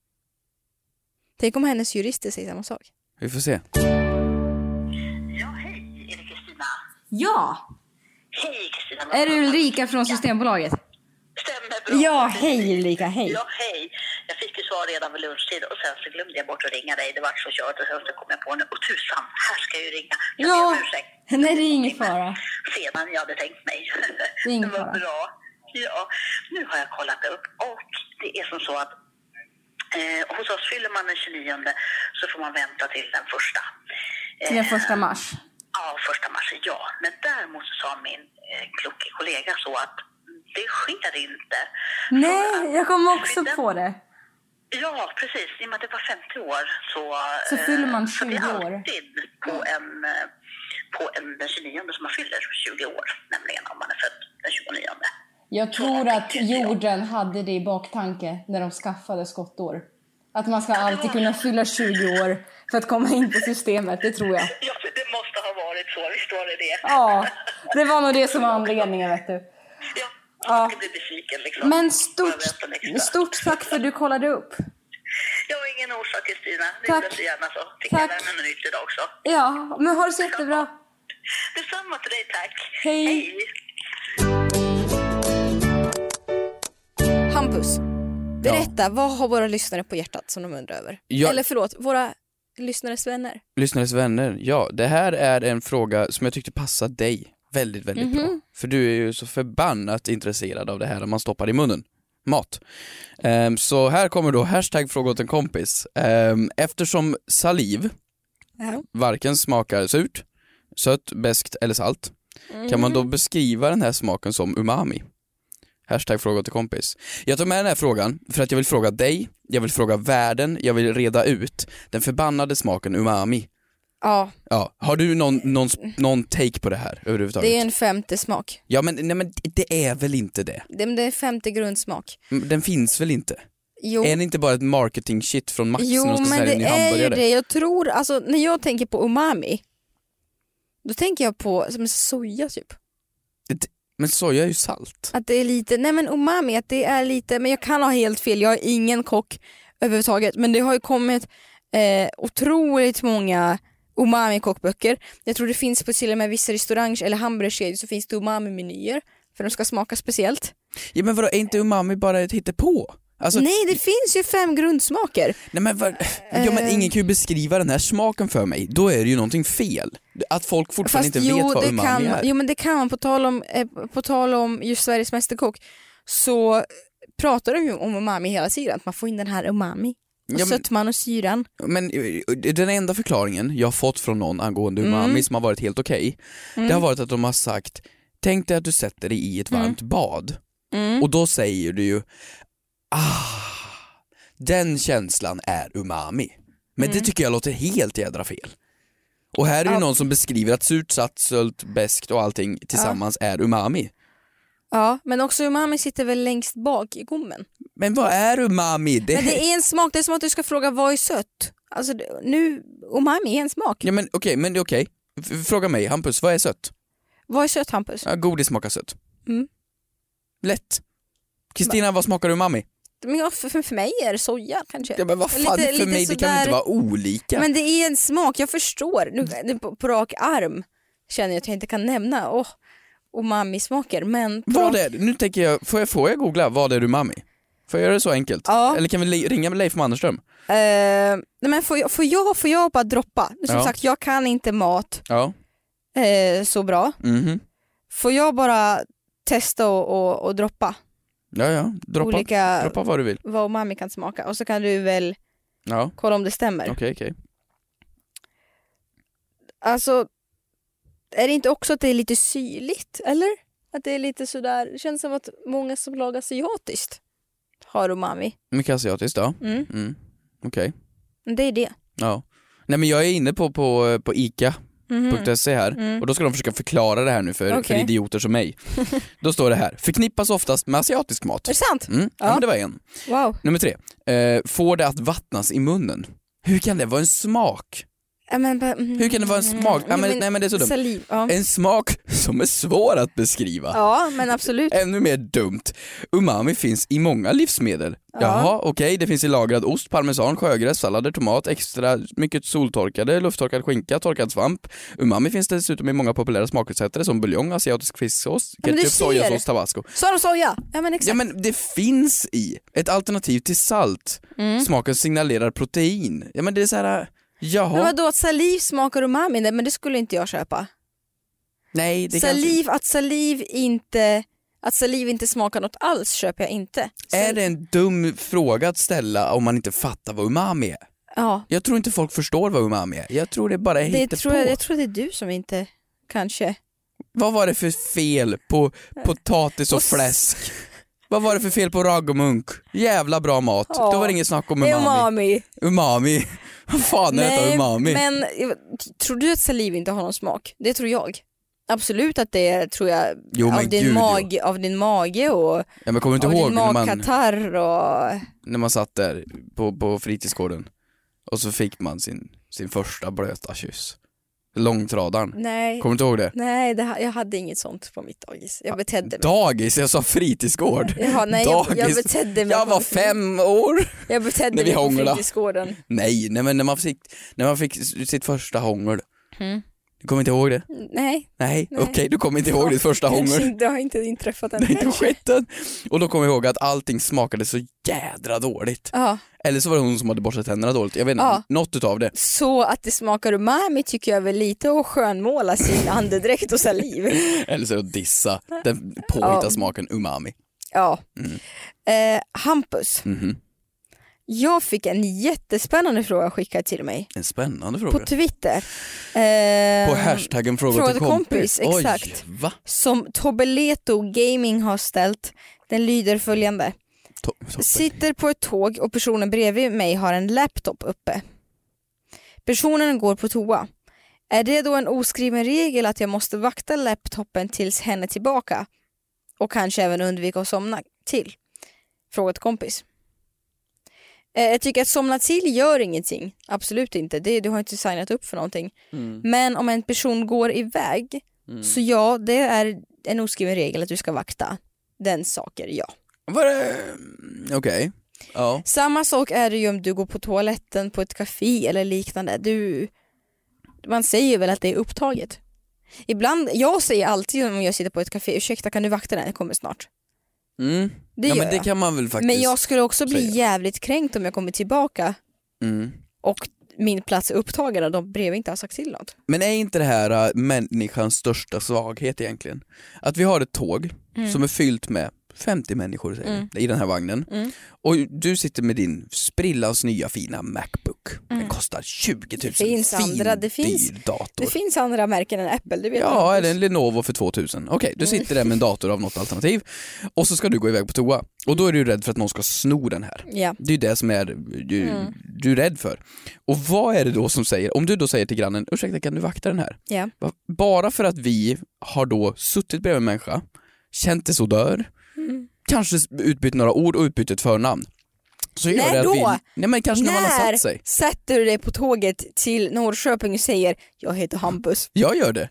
Speaker 1: Tänk om hennes jurister säger samma sak.
Speaker 2: Vi får se.
Speaker 8: Ja, hej. Är det Kristina?
Speaker 9: Ja,
Speaker 8: Hej Kristina.
Speaker 9: är det Ulrika från Systembolaget?
Speaker 8: Stämmer bra.
Speaker 9: Ja, hej Ulrika, hej.
Speaker 8: Ja, hej. Jag fick ju svar redan vid lunchtid och sen så glömde jag bort att ringa dig. Det var så kört och sen så kom jag på nu. Och tusan, här ska jag ju ringa. Jag ber
Speaker 9: Ja,
Speaker 8: om ursäkt.
Speaker 9: nej det är ingen fara.
Speaker 8: Sedan jag hade tänkt mig.
Speaker 9: Det är ingen
Speaker 8: var
Speaker 9: fara.
Speaker 8: bra. Ja, nu har jag kollat upp och det är som så att eh, hos oss fyller man den 29 så får man vänta till den första.
Speaker 9: Till den första mars.
Speaker 8: Ja, första mars, ja. Men däremot så sa min eh, kloke kollega så att det sker inte.
Speaker 9: Nej, jag kom också på det.
Speaker 8: Ja, precis. I och med att det var 50 år så...
Speaker 9: Så
Speaker 8: eh,
Speaker 9: fyller man
Speaker 8: Så det
Speaker 9: 20 år. Mm.
Speaker 8: är alltid på en, eh, på en den 29 som man fyller 20 år, nämligen om man är född den 29.
Speaker 9: Jag tror att jorden hade det i baktanke när de skaffade skottår. Att man ska alltid kunna fylla 20 år för att komma in på systemet, det tror jag.
Speaker 8: Ja, det måste ha varit så. Visst var det det?
Speaker 9: Ja, det var nog det som var anledningen vet du.
Speaker 8: Ja,
Speaker 9: Ja.
Speaker 8: man ska bli besviken liksom.
Speaker 9: Men
Speaker 8: Jag
Speaker 9: stort,
Speaker 8: vet en extra.
Speaker 9: stort tack för att du kollade upp.
Speaker 8: Jag har ingen orsak, Kristina. Det
Speaker 9: Tack.
Speaker 8: blev så gärna så. alltså. Fick
Speaker 9: Tack.
Speaker 8: jag lära mig något nytt idag också.
Speaker 9: Ja, men ha det så jättebra.
Speaker 8: Detsamma till dig, tack.
Speaker 9: Hej.
Speaker 8: Hej.
Speaker 1: Hampus, berätta, vad har våra lyssnare på hjärtat som de undrar över?
Speaker 2: Jag-
Speaker 1: Eller förlåt, våra lyssnares vänner.
Speaker 2: Lyssnares vänner, ja det här är en fråga som jag tyckte passade dig väldigt, väldigt bra. För du är ju så förbannat intresserad av det här man stoppar i munnen. Mat. Ehm, så här kommer då hashtag fråga åt en kompis. Ehm, eftersom saliv
Speaker 1: Ja.
Speaker 2: varken smakar surt, sött, beskt eller salt kan man då beskriva den här smaken som umami? Hashtag fråga till kompis. Jag tar med den här frågan för att jag vill fråga dig, jag vill fråga världen, jag vill reda ut den förbannade smaken umami.
Speaker 1: Ja,
Speaker 2: Ja, har du någon, någon, någon take på det här överhuvudtaget?
Speaker 1: Mm. det är en femte smak.
Speaker 2: Ja men, nej, men det är väl inte det?
Speaker 1: Det det är en femte grundsmak.
Speaker 2: Mm, Den finns väl inte?
Speaker 1: Jo,
Speaker 2: Är det inte bara ett marketing shit från Max
Speaker 1: jo
Speaker 2: när de ska
Speaker 1: men
Speaker 2: sälja en ny
Speaker 1: det är ju
Speaker 2: hamburgare?
Speaker 1: det. Jag tror, alltså när jag tänker på umami, då tänker jag på som soja typ.
Speaker 2: Men soja är ju salt.
Speaker 1: Att det är lite, nej men umami, att det är lite, men jag kan ha helt fel, jag är ingen kock överhuvudtaget. Men det har ju kommit eh, otroligt många umami-kockböcker. Jag tror det finns på till och med vissa restauranger eller hamburgerkedjor så finns det umami-menyer. För de ska smaka speciellt.
Speaker 2: Ja men vadå, är inte umami bara ett hittepå? Alltså,
Speaker 1: Nej det finns ju fem grundsmaker.
Speaker 2: Nej men, vad, ja, men ingen kan ju beskriva den här smaken för mig, då är det ju någonting fel. Att folk fortfarande inte vet vad
Speaker 1: det
Speaker 2: umami
Speaker 1: kan,
Speaker 2: är.
Speaker 1: Jo men det kan man, på tal om, eh, på tal om just Sveriges Mästerkock så pratar de ju om umami hela tiden, att man får in den här umami.
Speaker 2: Ja,
Speaker 1: Och
Speaker 2: men-
Speaker 1: sötman och syran.
Speaker 2: Men eh, den enda förklaringen jag har fått från någon angående
Speaker 1: Mm.
Speaker 2: umami som har varit helt okej, det har varit att de har sagt, tänk dig att du sätter dig i
Speaker 1: Mm.
Speaker 2: ett varmt bad och då säger du ju, ah, den känslan är umami. Men
Speaker 1: Mm.
Speaker 2: det tycker jag låter helt jädra fel. Och här är ju någon som beskriver att surt, satt, sölt, beskt och allting tillsammans är umami.
Speaker 1: Ja, men också umami sitter väl längst bak i gommen.
Speaker 2: Men vad är umami? Det,
Speaker 1: Men det är en smak, det är som att du ska fråga vad är sött? Alltså det- nu, umami är en smak.
Speaker 2: Ja men okej, men det är okej. F- Fråga mig, Hampus, vad är sött?
Speaker 1: Vad är sött Hampus?
Speaker 2: Ja, godis smakar sött.
Speaker 1: Mm.
Speaker 2: Lätt. Kristina, vad smakar umami?
Speaker 1: Men jag, för, för mig är det soja kanske.
Speaker 2: Ja, men vad fan,
Speaker 1: Lite-
Speaker 2: för
Speaker 1: lite
Speaker 2: mig det kan väl
Speaker 1: sådär-
Speaker 2: inte vara olika?
Speaker 1: Men det är en smak, jag förstår. Nu, nu på, på rak arm känner jag att jag inte kan nämna oh, umami-smaker. Men på
Speaker 2: Vad
Speaker 1: rak-
Speaker 2: är det? Nu tänker jag, får jag, får jag googla vad är umami? Får jag göra det så enkelt?
Speaker 1: Ja.
Speaker 2: Eller kan vi le- ringa Leif Mannerström?
Speaker 1: Eh, nej men får, jag, får, jag, får jag bara droppa? Som
Speaker 2: Ja.
Speaker 1: sagt, jag kan inte mat
Speaker 2: Ja.
Speaker 1: eh, så bra.
Speaker 2: Mhm.
Speaker 1: Får jag bara testa och, och, och droppa,
Speaker 2: Ja, ja. Droppa,
Speaker 1: olika
Speaker 2: droppa vad du vill.
Speaker 1: vad umami kan smaka och så kan du väl
Speaker 2: Ja,
Speaker 1: kolla om det stämmer.
Speaker 2: okej, okej.
Speaker 1: Alltså, är det inte också att det är lite syrligt? Eller? Att det är lite sådär, det känns som att många som lagar asiatiskt har umami.
Speaker 2: Mycket asiatiskt då?
Speaker 1: Mm.
Speaker 2: Mm. Okej.
Speaker 1: Men Det är det.
Speaker 2: Ja. Nej men jag är inne på, på, på ICA .se här och då ska de försöka förklara det här nu för, för
Speaker 1: Mhm. Mm. Okej.
Speaker 2: idioter som mig. Då står det här, förknippas oftast med asiatisk mat.
Speaker 1: Är det sant?
Speaker 2: Mm. Ja.
Speaker 1: Ja.
Speaker 2: men det var en.
Speaker 1: Wow.
Speaker 2: Nummer tre, eh, får det att vattnas i munnen. Hur kan det vara en smak?
Speaker 1: Ja, men, bara- mm.
Speaker 2: Hur kan det vara en smak? Ja,
Speaker 1: Jo,
Speaker 2: men, nej men det är så dumt.
Speaker 1: Mm. Saliv, ja.
Speaker 2: En smak som är svår att beskriva.
Speaker 1: ja men absolut.
Speaker 2: Ännu mer dumt. Umami finns i många livsmedel. Jaha, okej, det finns i lagrad ost, parmesan, sjögräs, sallader, tomat, extra mycket soltorkade, lufttorkad skinka, torkad svamp. Umami finns dessutom i många populära smakutsättare som buljong, asiatisk fisksås,
Speaker 1: men du
Speaker 2: ketchup,
Speaker 1: ser.
Speaker 2: sojasås, tabasco.
Speaker 1: Sa de soja? Ja men exakt.
Speaker 2: Ja men det finns i, ett alternativ till salt.
Speaker 1: Mm.
Speaker 2: Smaken signalerar protein. Ja men det är så här. äh, jaha,
Speaker 1: Men vadå att saliv smakar umami? Nej, men det skulle inte jag köpa.
Speaker 2: nej det kan
Speaker 1: Saliv, att saliv inte att saliv inte smakar något alls köper jag inte.
Speaker 2: Är det en dum fråga att ställa om man inte fattar vad umami är?
Speaker 1: Ja,
Speaker 2: Jag tror inte folk förstår vad umami är. Jag tror det bara är
Speaker 1: det
Speaker 2: hittepå.
Speaker 1: tror jag, jag tror det är du som inte kanske.
Speaker 2: Vad var det för fel på potatis och
Speaker 1: Och s-
Speaker 2: fläsk? Vad var det för fel på ragomunk? Jävla bra mat.
Speaker 1: Ja.
Speaker 2: Då var det inget snack om
Speaker 1: Det är
Speaker 2: umami.
Speaker 1: umami.
Speaker 2: Umami. Vad fan är detta umami?
Speaker 1: men eh, tror du att saliv inte har någon smak? Det tror jag. Absolut att det är, tror jag,
Speaker 2: Jo,
Speaker 1: av,
Speaker 2: men
Speaker 1: din
Speaker 2: gud, jo.
Speaker 1: mag, av din mage och
Speaker 2: Ja, men kommer du
Speaker 1: av
Speaker 2: inte ihåg
Speaker 1: din
Speaker 2: när man,
Speaker 1: magkatarr och...
Speaker 2: när man satt där på, på fritidsgården och så fick man sin, sin första blöta kyss? Långtradaren.
Speaker 1: Nej,
Speaker 2: Kommer du inte ihåg det?
Speaker 1: nej det, ha- jag hade inget sånt på mitt dagis. Jag betedde mig.
Speaker 2: Dagis, jag sa fritidsgård.
Speaker 1: Jaha, nej, jag, jag
Speaker 2: Dagis.
Speaker 1: betedde mig
Speaker 2: Jag
Speaker 1: på-
Speaker 2: var fem år.
Speaker 1: Jag betedde
Speaker 2: när vi
Speaker 1: mig på
Speaker 2: hånglade.
Speaker 1: fritidsgården.
Speaker 2: Nej, nej men när man fick, när man fick s- sitt första hångel. Du kommer inte ihåg det?
Speaker 1: Nej,
Speaker 2: Nej, okej du kommer inte ihåg ditt första
Speaker 1: kanske
Speaker 2: hångel.
Speaker 1: inte, det har inte inträffat än.
Speaker 2: Det har inte skett än. Och då kommer jag ihåg att allting smakade så jädra dåligt.
Speaker 1: Ja,
Speaker 2: Eller så var det hon som hade borstat tänderna dåligt, jag vet inte,
Speaker 1: Ja.
Speaker 2: något utav det.
Speaker 1: så att det smakar umami tycker jag väl lite och skönmåla sin andedräkt och saliv.
Speaker 2: Eller så att dissa den Mm. påhittade smaken umami.
Speaker 1: Ja. Eh, Hampus,
Speaker 2: Mhm.
Speaker 1: Jag fick en jättespännande fråga skickad till mig
Speaker 2: En
Speaker 1: på
Speaker 2: spännande fråga. På,
Speaker 1: Twitter. Eh,
Speaker 2: hashtaggen fråga,
Speaker 1: fråga
Speaker 2: till
Speaker 1: till
Speaker 2: kompis.
Speaker 1: kompis,
Speaker 2: Oj,
Speaker 1: exakt.
Speaker 2: va?
Speaker 1: Som Tobeleto Gaming har ställt. Den lyder följande.
Speaker 2: To- toppen.
Speaker 1: Sitter på ett tåg och personen bredvid mig har en laptop uppe. Personen går på toa. Är det då en oskriven regel att jag måste vakta laptopen tills hen är tillbaka? Och kanske även undvika att somna till? Frågat kompis. Eh, Jag tycker att somna till gör ingenting. Absolut inte. Det, du har inte signat upp för någonting. Men om en person går iväg så ja, det är en oskriven regel att du ska vakta. Den saker, ja.
Speaker 2: Var det... mm, Okej. Ja.
Speaker 1: Samma sak är det ju om du går på toaletten på ett café eller liknande. Du, man säger väl att det är upptaget. Ibland, jag säger alltid om jag sitter på ett café, ursäkta kan du vakta den, jag kommer snart.
Speaker 2: Mm.
Speaker 1: Det
Speaker 2: ja
Speaker 1: gör
Speaker 2: men det
Speaker 1: jag.
Speaker 2: kan man väl faktiskt.
Speaker 1: Men jag skulle också bli
Speaker 2: säga.
Speaker 1: jävligt kränkt om jag kommer tillbaka
Speaker 2: mm.
Speaker 1: och min plats är upptagen och de bredvid inte har sagt till något.
Speaker 2: Men är inte det här äh, människans största svaghet egentligen? Att vi har ett tåg
Speaker 1: Mm.
Speaker 2: som är fyllt med 50 människor säger vi, i den här vagnen
Speaker 1: Mm.
Speaker 2: och du sitter med din sprillans nya fina Macbook. Den kostar 20 000.
Speaker 1: Mm. finns
Speaker 2: fin,
Speaker 1: andra- det finns-
Speaker 2: dyr dator.
Speaker 1: Det finns andra märken än Apple, det vet
Speaker 2: Ja,
Speaker 1: du.
Speaker 2: eller en Lenovo för 2000. Okej, du
Speaker 1: Mm.
Speaker 2: sitter där med en dator av något alternativ och så ska du gå iväg på toa och då är du ju rädd för att någon ska sno den här.
Speaker 1: Ja. Mm.
Speaker 2: Det är ju det som är, du, du är rädd för. Och vad är det då som säger, om du då säger till grannen, ursäkta kan du vakta den här?
Speaker 1: Ja.
Speaker 2: Va- Bara för att vi har då suttit bredvid en människa, känt det så dör,
Speaker 1: Mm.
Speaker 2: kanske utbytt några ord och utbytt ett förnamn. Så gör
Speaker 1: När
Speaker 2: det att
Speaker 1: då?
Speaker 2: Vi, nej men kanske när man har
Speaker 1: När
Speaker 2: satt sig.
Speaker 1: sätter du dig på tåget till Norrköping och säger jag heter Hampus?
Speaker 2: Jag gör det.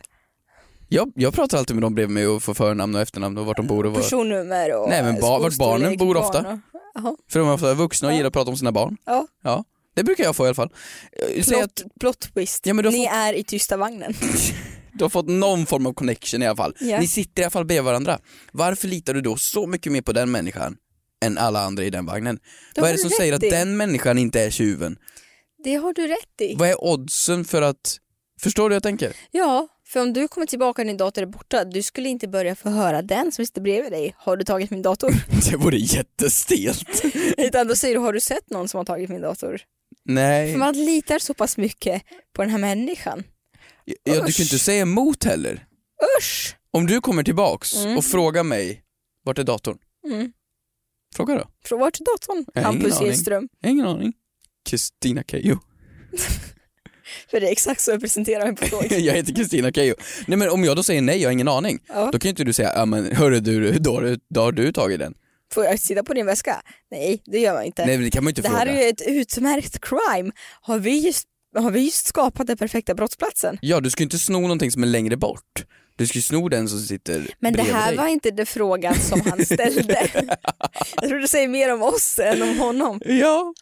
Speaker 2: Jag, jag pratar alltid med dem bredvid mig och får förnamn och efternamn och vart de bor och vad,
Speaker 1: Personnummer och
Speaker 2: Nej, men ba- vart
Speaker 1: skolstorlek,
Speaker 2: barnen bor ofta.
Speaker 1: barn och- Jaha.
Speaker 2: För de är ofta vuxna och gillar att prata om sina barn.
Speaker 1: Ja.
Speaker 2: ja. Det brukar jag få i alla fall. Eh, Säg att
Speaker 1: Plot, plot twist.
Speaker 2: Ja, men du har
Speaker 1: Ni
Speaker 2: fått-
Speaker 1: är i tysta vagnen.
Speaker 2: du har fått någon form av connection i alla fall.
Speaker 1: Ja.
Speaker 2: Ni sitter i alla fall bredvid varandra. Varför litar du då så mycket mer på den människan än alla andra i den vagnen?
Speaker 1: Det
Speaker 2: Vad är
Speaker 1: har
Speaker 2: det
Speaker 1: du
Speaker 2: som
Speaker 1: rätt
Speaker 2: säger att
Speaker 1: i.
Speaker 2: den människan inte är tjuven?
Speaker 1: Det har du rätt i.
Speaker 2: Vad är oddsen för att... Förstår du vad jag tänker?
Speaker 1: Ja, för om du kommer tillbaka och din dator är borta, du skulle inte börja förhöra den som sitter bredvid dig. Har du tagit min dator?
Speaker 2: Det vore jättestelt.
Speaker 1: Utan då säger du, har du sett någon som har tagit min dator?
Speaker 2: Nej,
Speaker 1: För man litar så pass mycket på den här människan.
Speaker 2: ja, du kan ju inte
Speaker 1: Usch.
Speaker 2: säga emot heller.
Speaker 1: Usch!
Speaker 2: Om du kommer tillbaks och frågar mig, vart är datorn?
Speaker 1: Mm.
Speaker 2: Fråga då.
Speaker 1: Från vart är datorn?
Speaker 2: Jag har ingen
Speaker 1: Hampus
Speaker 2: aning.
Speaker 1: Hedström.
Speaker 2: Jag har Ingen aning. Kristina Keyyo.
Speaker 1: För det är exakt så jag presenterar mig på tåg.
Speaker 2: jag heter Kristina Keyyo. Nej men om jag då säger nej, jag har ingen aning.
Speaker 1: Ja.
Speaker 2: Då kan ju inte du säga, ja men hörru du, då har du, då har du tagit den.
Speaker 1: Får jag sitta på din väska? Nej, det gör man inte.
Speaker 2: Nej men det kan man ju inte
Speaker 1: Det
Speaker 2: fråga.
Speaker 1: här är ju ett utmärkt crime. Har vi just, har vi just skapat den perfekta brottsplatsen?
Speaker 2: Ja du ska ju inte sno någonting som är längre bort. Du ska ju sno den som sitter
Speaker 1: Men det
Speaker 2: bredvid
Speaker 1: här
Speaker 2: dig.
Speaker 1: var inte den frågan som han ställde. jag tror det säger mer om oss än om honom.
Speaker 2: Ja.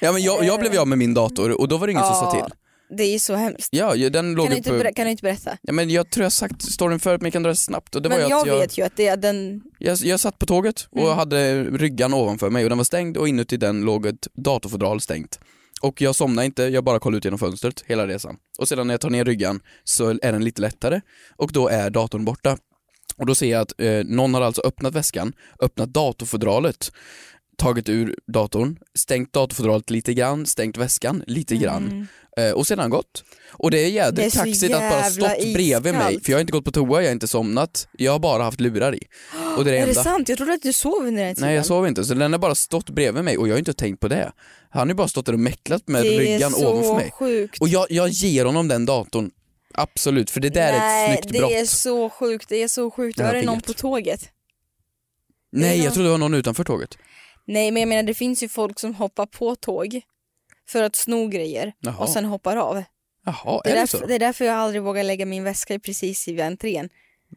Speaker 2: Ja men jag, jag blev jag med min dator och då var det ingen som sa
Speaker 1: Ja,
Speaker 2: till.
Speaker 1: Det är ju så hemskt.
Speaker 2: Ja, jag- den låg
Speaker 1: Kan du,
Speaker 2: ju
Speaker 1: inte
Speaker 2: på...
Speaker 1: ber- kan du inte berätta?
Speaker 2: Ja, men jag tror jag har sagt storyn förut men jag kan dra det snabbt. Och det
Speaker 1: Men
Speaker 2: var ju
Speaker 1: jag
Speaker 2: att jag,
Speaker 1: vet ju att det är den...
Speaker 2: Jag, jag satt på tåget och
Speaker 1: Mm.
Speaker 2: hade ryggan ovanför mig och den var stängd och inuti den låg ett datorfodral stängt. Och jag somnade inte, jag bara kollade ut genom fönstret hela resan. Och sedan när jag tar ner ryggan så är den lite lättare och då är datorn borta. Och då ser jag att eh, någon har alltså öppnat väskan, öppnat datorfodralet, tagit ur datorn, stängt datorfodralet lite grann, stängt väskan lite grann eh, och sedan gått. Och det är
Speaker 1: Mm. Det är
Speaker 2: jädrigt
Speaker 1: så
Speaker 2: kaxigt att bara
Speaker 1: jävla
Speaker 2: stått bredvid mig
Speaker 1: iskallt.
Speaker 2: för jag har inte gått på toa, jag har inte somnat, jag har bara haft lurar i. Och det är det
Speaker 1: Är det
Speaker 2: enda.
Speaker 1: sant? Jag trodde att du sov under den här tiden.
Speaker 2: Nej jag sov inte, så den har bara stått bredvid mig och jag har inte tänkt på det. Han har ju bara stått där och mäcklat med
Speaker 1: det är
Speaker 2: ryggan ovanför
Speaker 1: så
Speaker 2: mig.
Speaker 1: sjukt.
Speaker 2: Och jag, jag ger honom den datorn, absolut, för det där är
Speaker 1: Nej,
Speaker 2: ett
Speaker 1: det
Speaker 2: snyggt brott.
Speaker 1: är så sjukt. Det är så sjukt.
Speaker 2: Jag
Speaker 1: Var det någon
Speaker 2: vet.
Speaker 1: på tåget?
Speaker 2: Nej
Speaker 1: någon-
Speaker 2: jag trodde det var någon utanför tåget.
Speaker 1: Nej, men jag menar det finns ju folk som hoppar på tåg för att sno grejer
Speaker 2: Jaha.
Speaker 1: och sen hoppar av.
Speaker 2: Jaha,
Speaker 1: Det är,
Speaker 2: är det
Speaker 1: därför,
Speaker 2: så?
Speaker 1: det är därför jag aldrig vågar lägga min väska precis i entrén.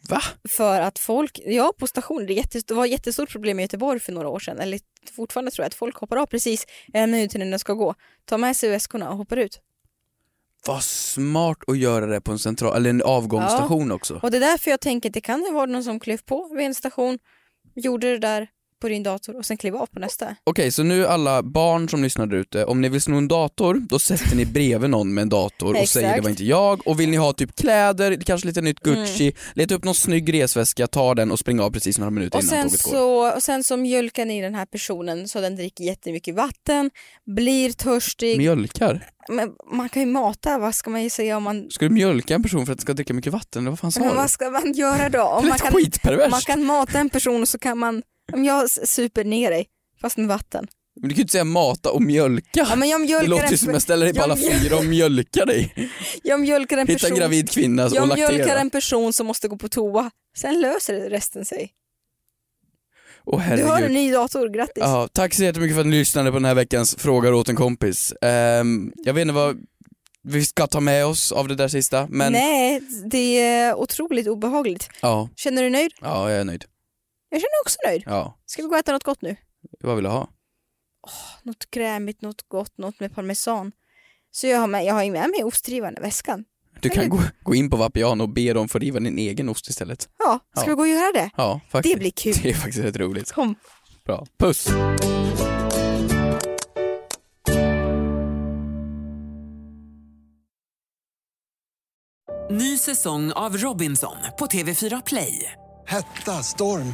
Speaker 2: Va?
Speaker 1: För att folk, ja på stationen, det, är jättes, det var ett jättestort problem i Göteborg för några år sedan, eller fortfarande tror jag att folk hoppar av precis en minut innan de ska gå, tar med sig väskorna och hoppar ut.
Speaker 2: Vad smart att göra det på en central, eller en avgångsstation också.
Speaker 1: Och det är därför jag tänker att det kan ju vara någon som klev på vid en station, gjorde det där, på din dator och sen kliva av på nästa.
Speaker 2: Okej, så nu alla barn som lyssnar där ute, om ni vill sno en dator, då sätter ni bredvid någon med en dator och
Speaker 1: Exakt. Mm.
Speaker 2: säger det var inte jag. Och vill ni ha typ kläder, kanske lite nytt Gucci, leta upp någon snygg resväska, ta den och springa av precis några minuter
Speaker 1: Och sen,
Speaker 2: innan tåget går.
Speaker 1: så, och sen så mjölkar ni den här personen så den dricker jättemycket vatten, blir törstig.
Speaker 2: Mjölkar?
Speaker 1: Men man kan ju mata, vad ska man ju säga om man...
Speaker 2: Ska du mjölka en person för att den ska dricka mycket vatten? Eller vad fan sa
Speaker 1: Men
Speaker 2: du?
Speaker 1: vad ska man göra då? Om man,
Speaker 2: lät
Speaker 1: kan,
Speaker 2: skitperverst.
Speaker 1: man kan mata en person och så kan man, om jag super ner dig, fast med vatten.
Speaker 2: Men du kan ju inte säga mata och mjölka.
Speaker 1: Ja, men jag mjölkar
Speaker 2: det låter ju
Speaker 1: en-
Speaker 2: som att jag ställer dig på
Speaker 1: jag
Speaker 2: alla
Speaker 1: mjöl-
Speaker 2: fyra och mjölkar dig.
Speaker 1: Jag mjölkar en
Speaker 2: Hitta en
Speaker 1: person,
Speaker 2: gravid kvinna och
Speaker 1: jag mjölkar
Speaker 2: laktera.
Speaker 1: en person som måste gå på toa, sen löser det resten sig.
Speaker 2: Åh,
Speaker 1: Du har en
Speaker 2: herregud.
Speaker 1: ny dator, grattis.
Speaker 2: Ja, tack så jättemycket för att ni lyssnade på den här veckans frågar åt en kompis. Ehm, jag vet inte vad vi ska ta med oss av det där sista, men
Speaker 1: Nej, det är otroligt obehagligt.
Speaker 2: ja,
Speaker 1: Känner du dig nöjd?
Speaker 2: ja, jag är nöjd.
Speaker 1: Jag känner också nöjd.
Speaker 2: Ja,
Speaker 1: Ska vi gå och äta något gott nu?
Speaker 2: vad vill du ha?
Speaker 1: något krämigt, något gott, något med parmesan. Så jag har, med, jag har ju med mig ostdrivan i väskan.
Speaker 2: Du kan gå, gå in på Vapiano och be dem få riva din egen ost istället.
Speaker 1: Ja, ska
Speaker 2: Ja.
Speaker 1: vi gå och göra det?
Speaker 2: Ja, faktiskt.
Speaker 1: Det blir kul.
Speaker 2: Det är faktiskt rätt roligt.
Speaker 1: Kom.
Speaker 2: Bra. Puss!
Speaker 3: Ny säsong av Robinson på TV4 Play.
Speaker 4: Hetta, storm,